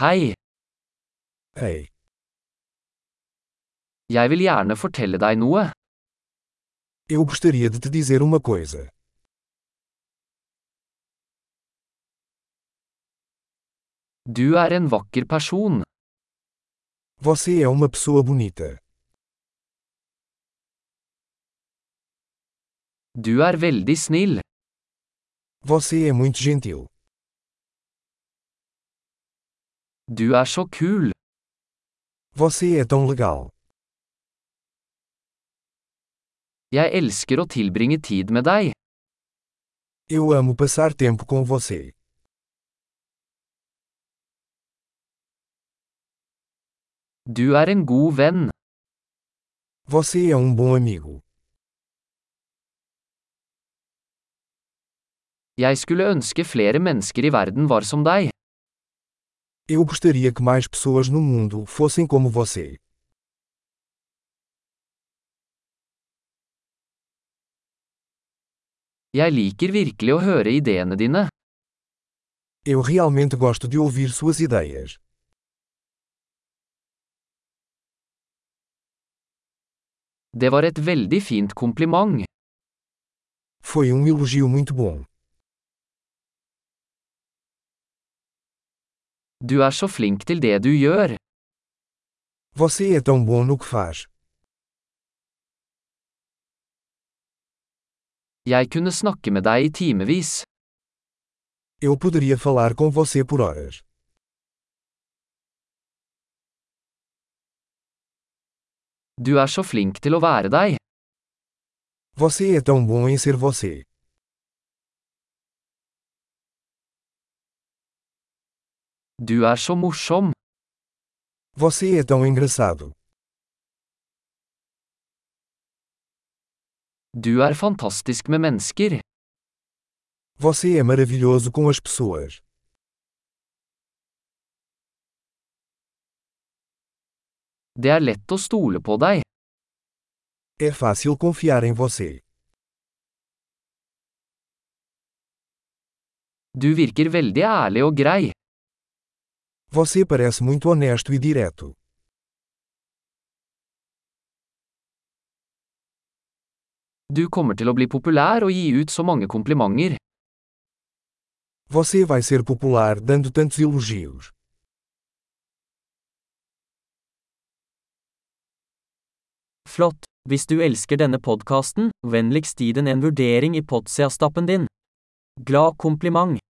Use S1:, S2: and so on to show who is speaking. S1: Hei,
S2: Hei,
S1: jeg vil gjerne fortelle deg noe.
S2: eu gostaria de te dizer uma coisa.
S1: Du er en vakker person.
S2: Você é uma pessoa bonita.
S1: Du er veldig snill.
S2: Você é muito gentil.
S1: Du er så kul.
S2: Você é tão legal.
S1: Jeg elsker å tilbringe tid med deg.
S2: Eu amo passar tempo com você.
S1: Du er en god venn.
S2: Você é um bom amigo.
S1: Jeg skulle ønske flere mennesker i verden var som deg.
S2: Eu gostaria que mais pessoas no mundo fossem como você.
S1: Jeg liker virkelig å høre ideene dine.
S2: Eu realmente gosto de ouvir suas ideias.
S1: Det var et veldig fint kompliment.
S2: Foi um elogio muito bom.
S1: Du er så flink til det du gjør.
S2: Você é tão bom no que faz.
S1: Jeg kunne snakke med deg i timevis.
S2: Eu poderia falar com você por horas.
S1: Du er så flink til å være deg.
S2: Você é tão bom em ser você.
S1: Du er så morsom.
S2: Você é tão engraçado.
S1: Du er fantastisk med mennesker.
S2: Você é maravilhoso com as pessoas.
S1: Det er lett å stole på deg.
S2: É fácil confiar em você.
S1: Du virker veldig ærlig og grei.
S2: Você parece muito honesto e direto.
S1: Du kommer til å bli populær og gi ut så mange komplimenter.
S2: Você vai ser popular dando tantos elogios.
S3: Flott! Hvis du elsker denne podkasten, vennligst gi den en vurdering i Potsia-stappen din. Glad kompliment!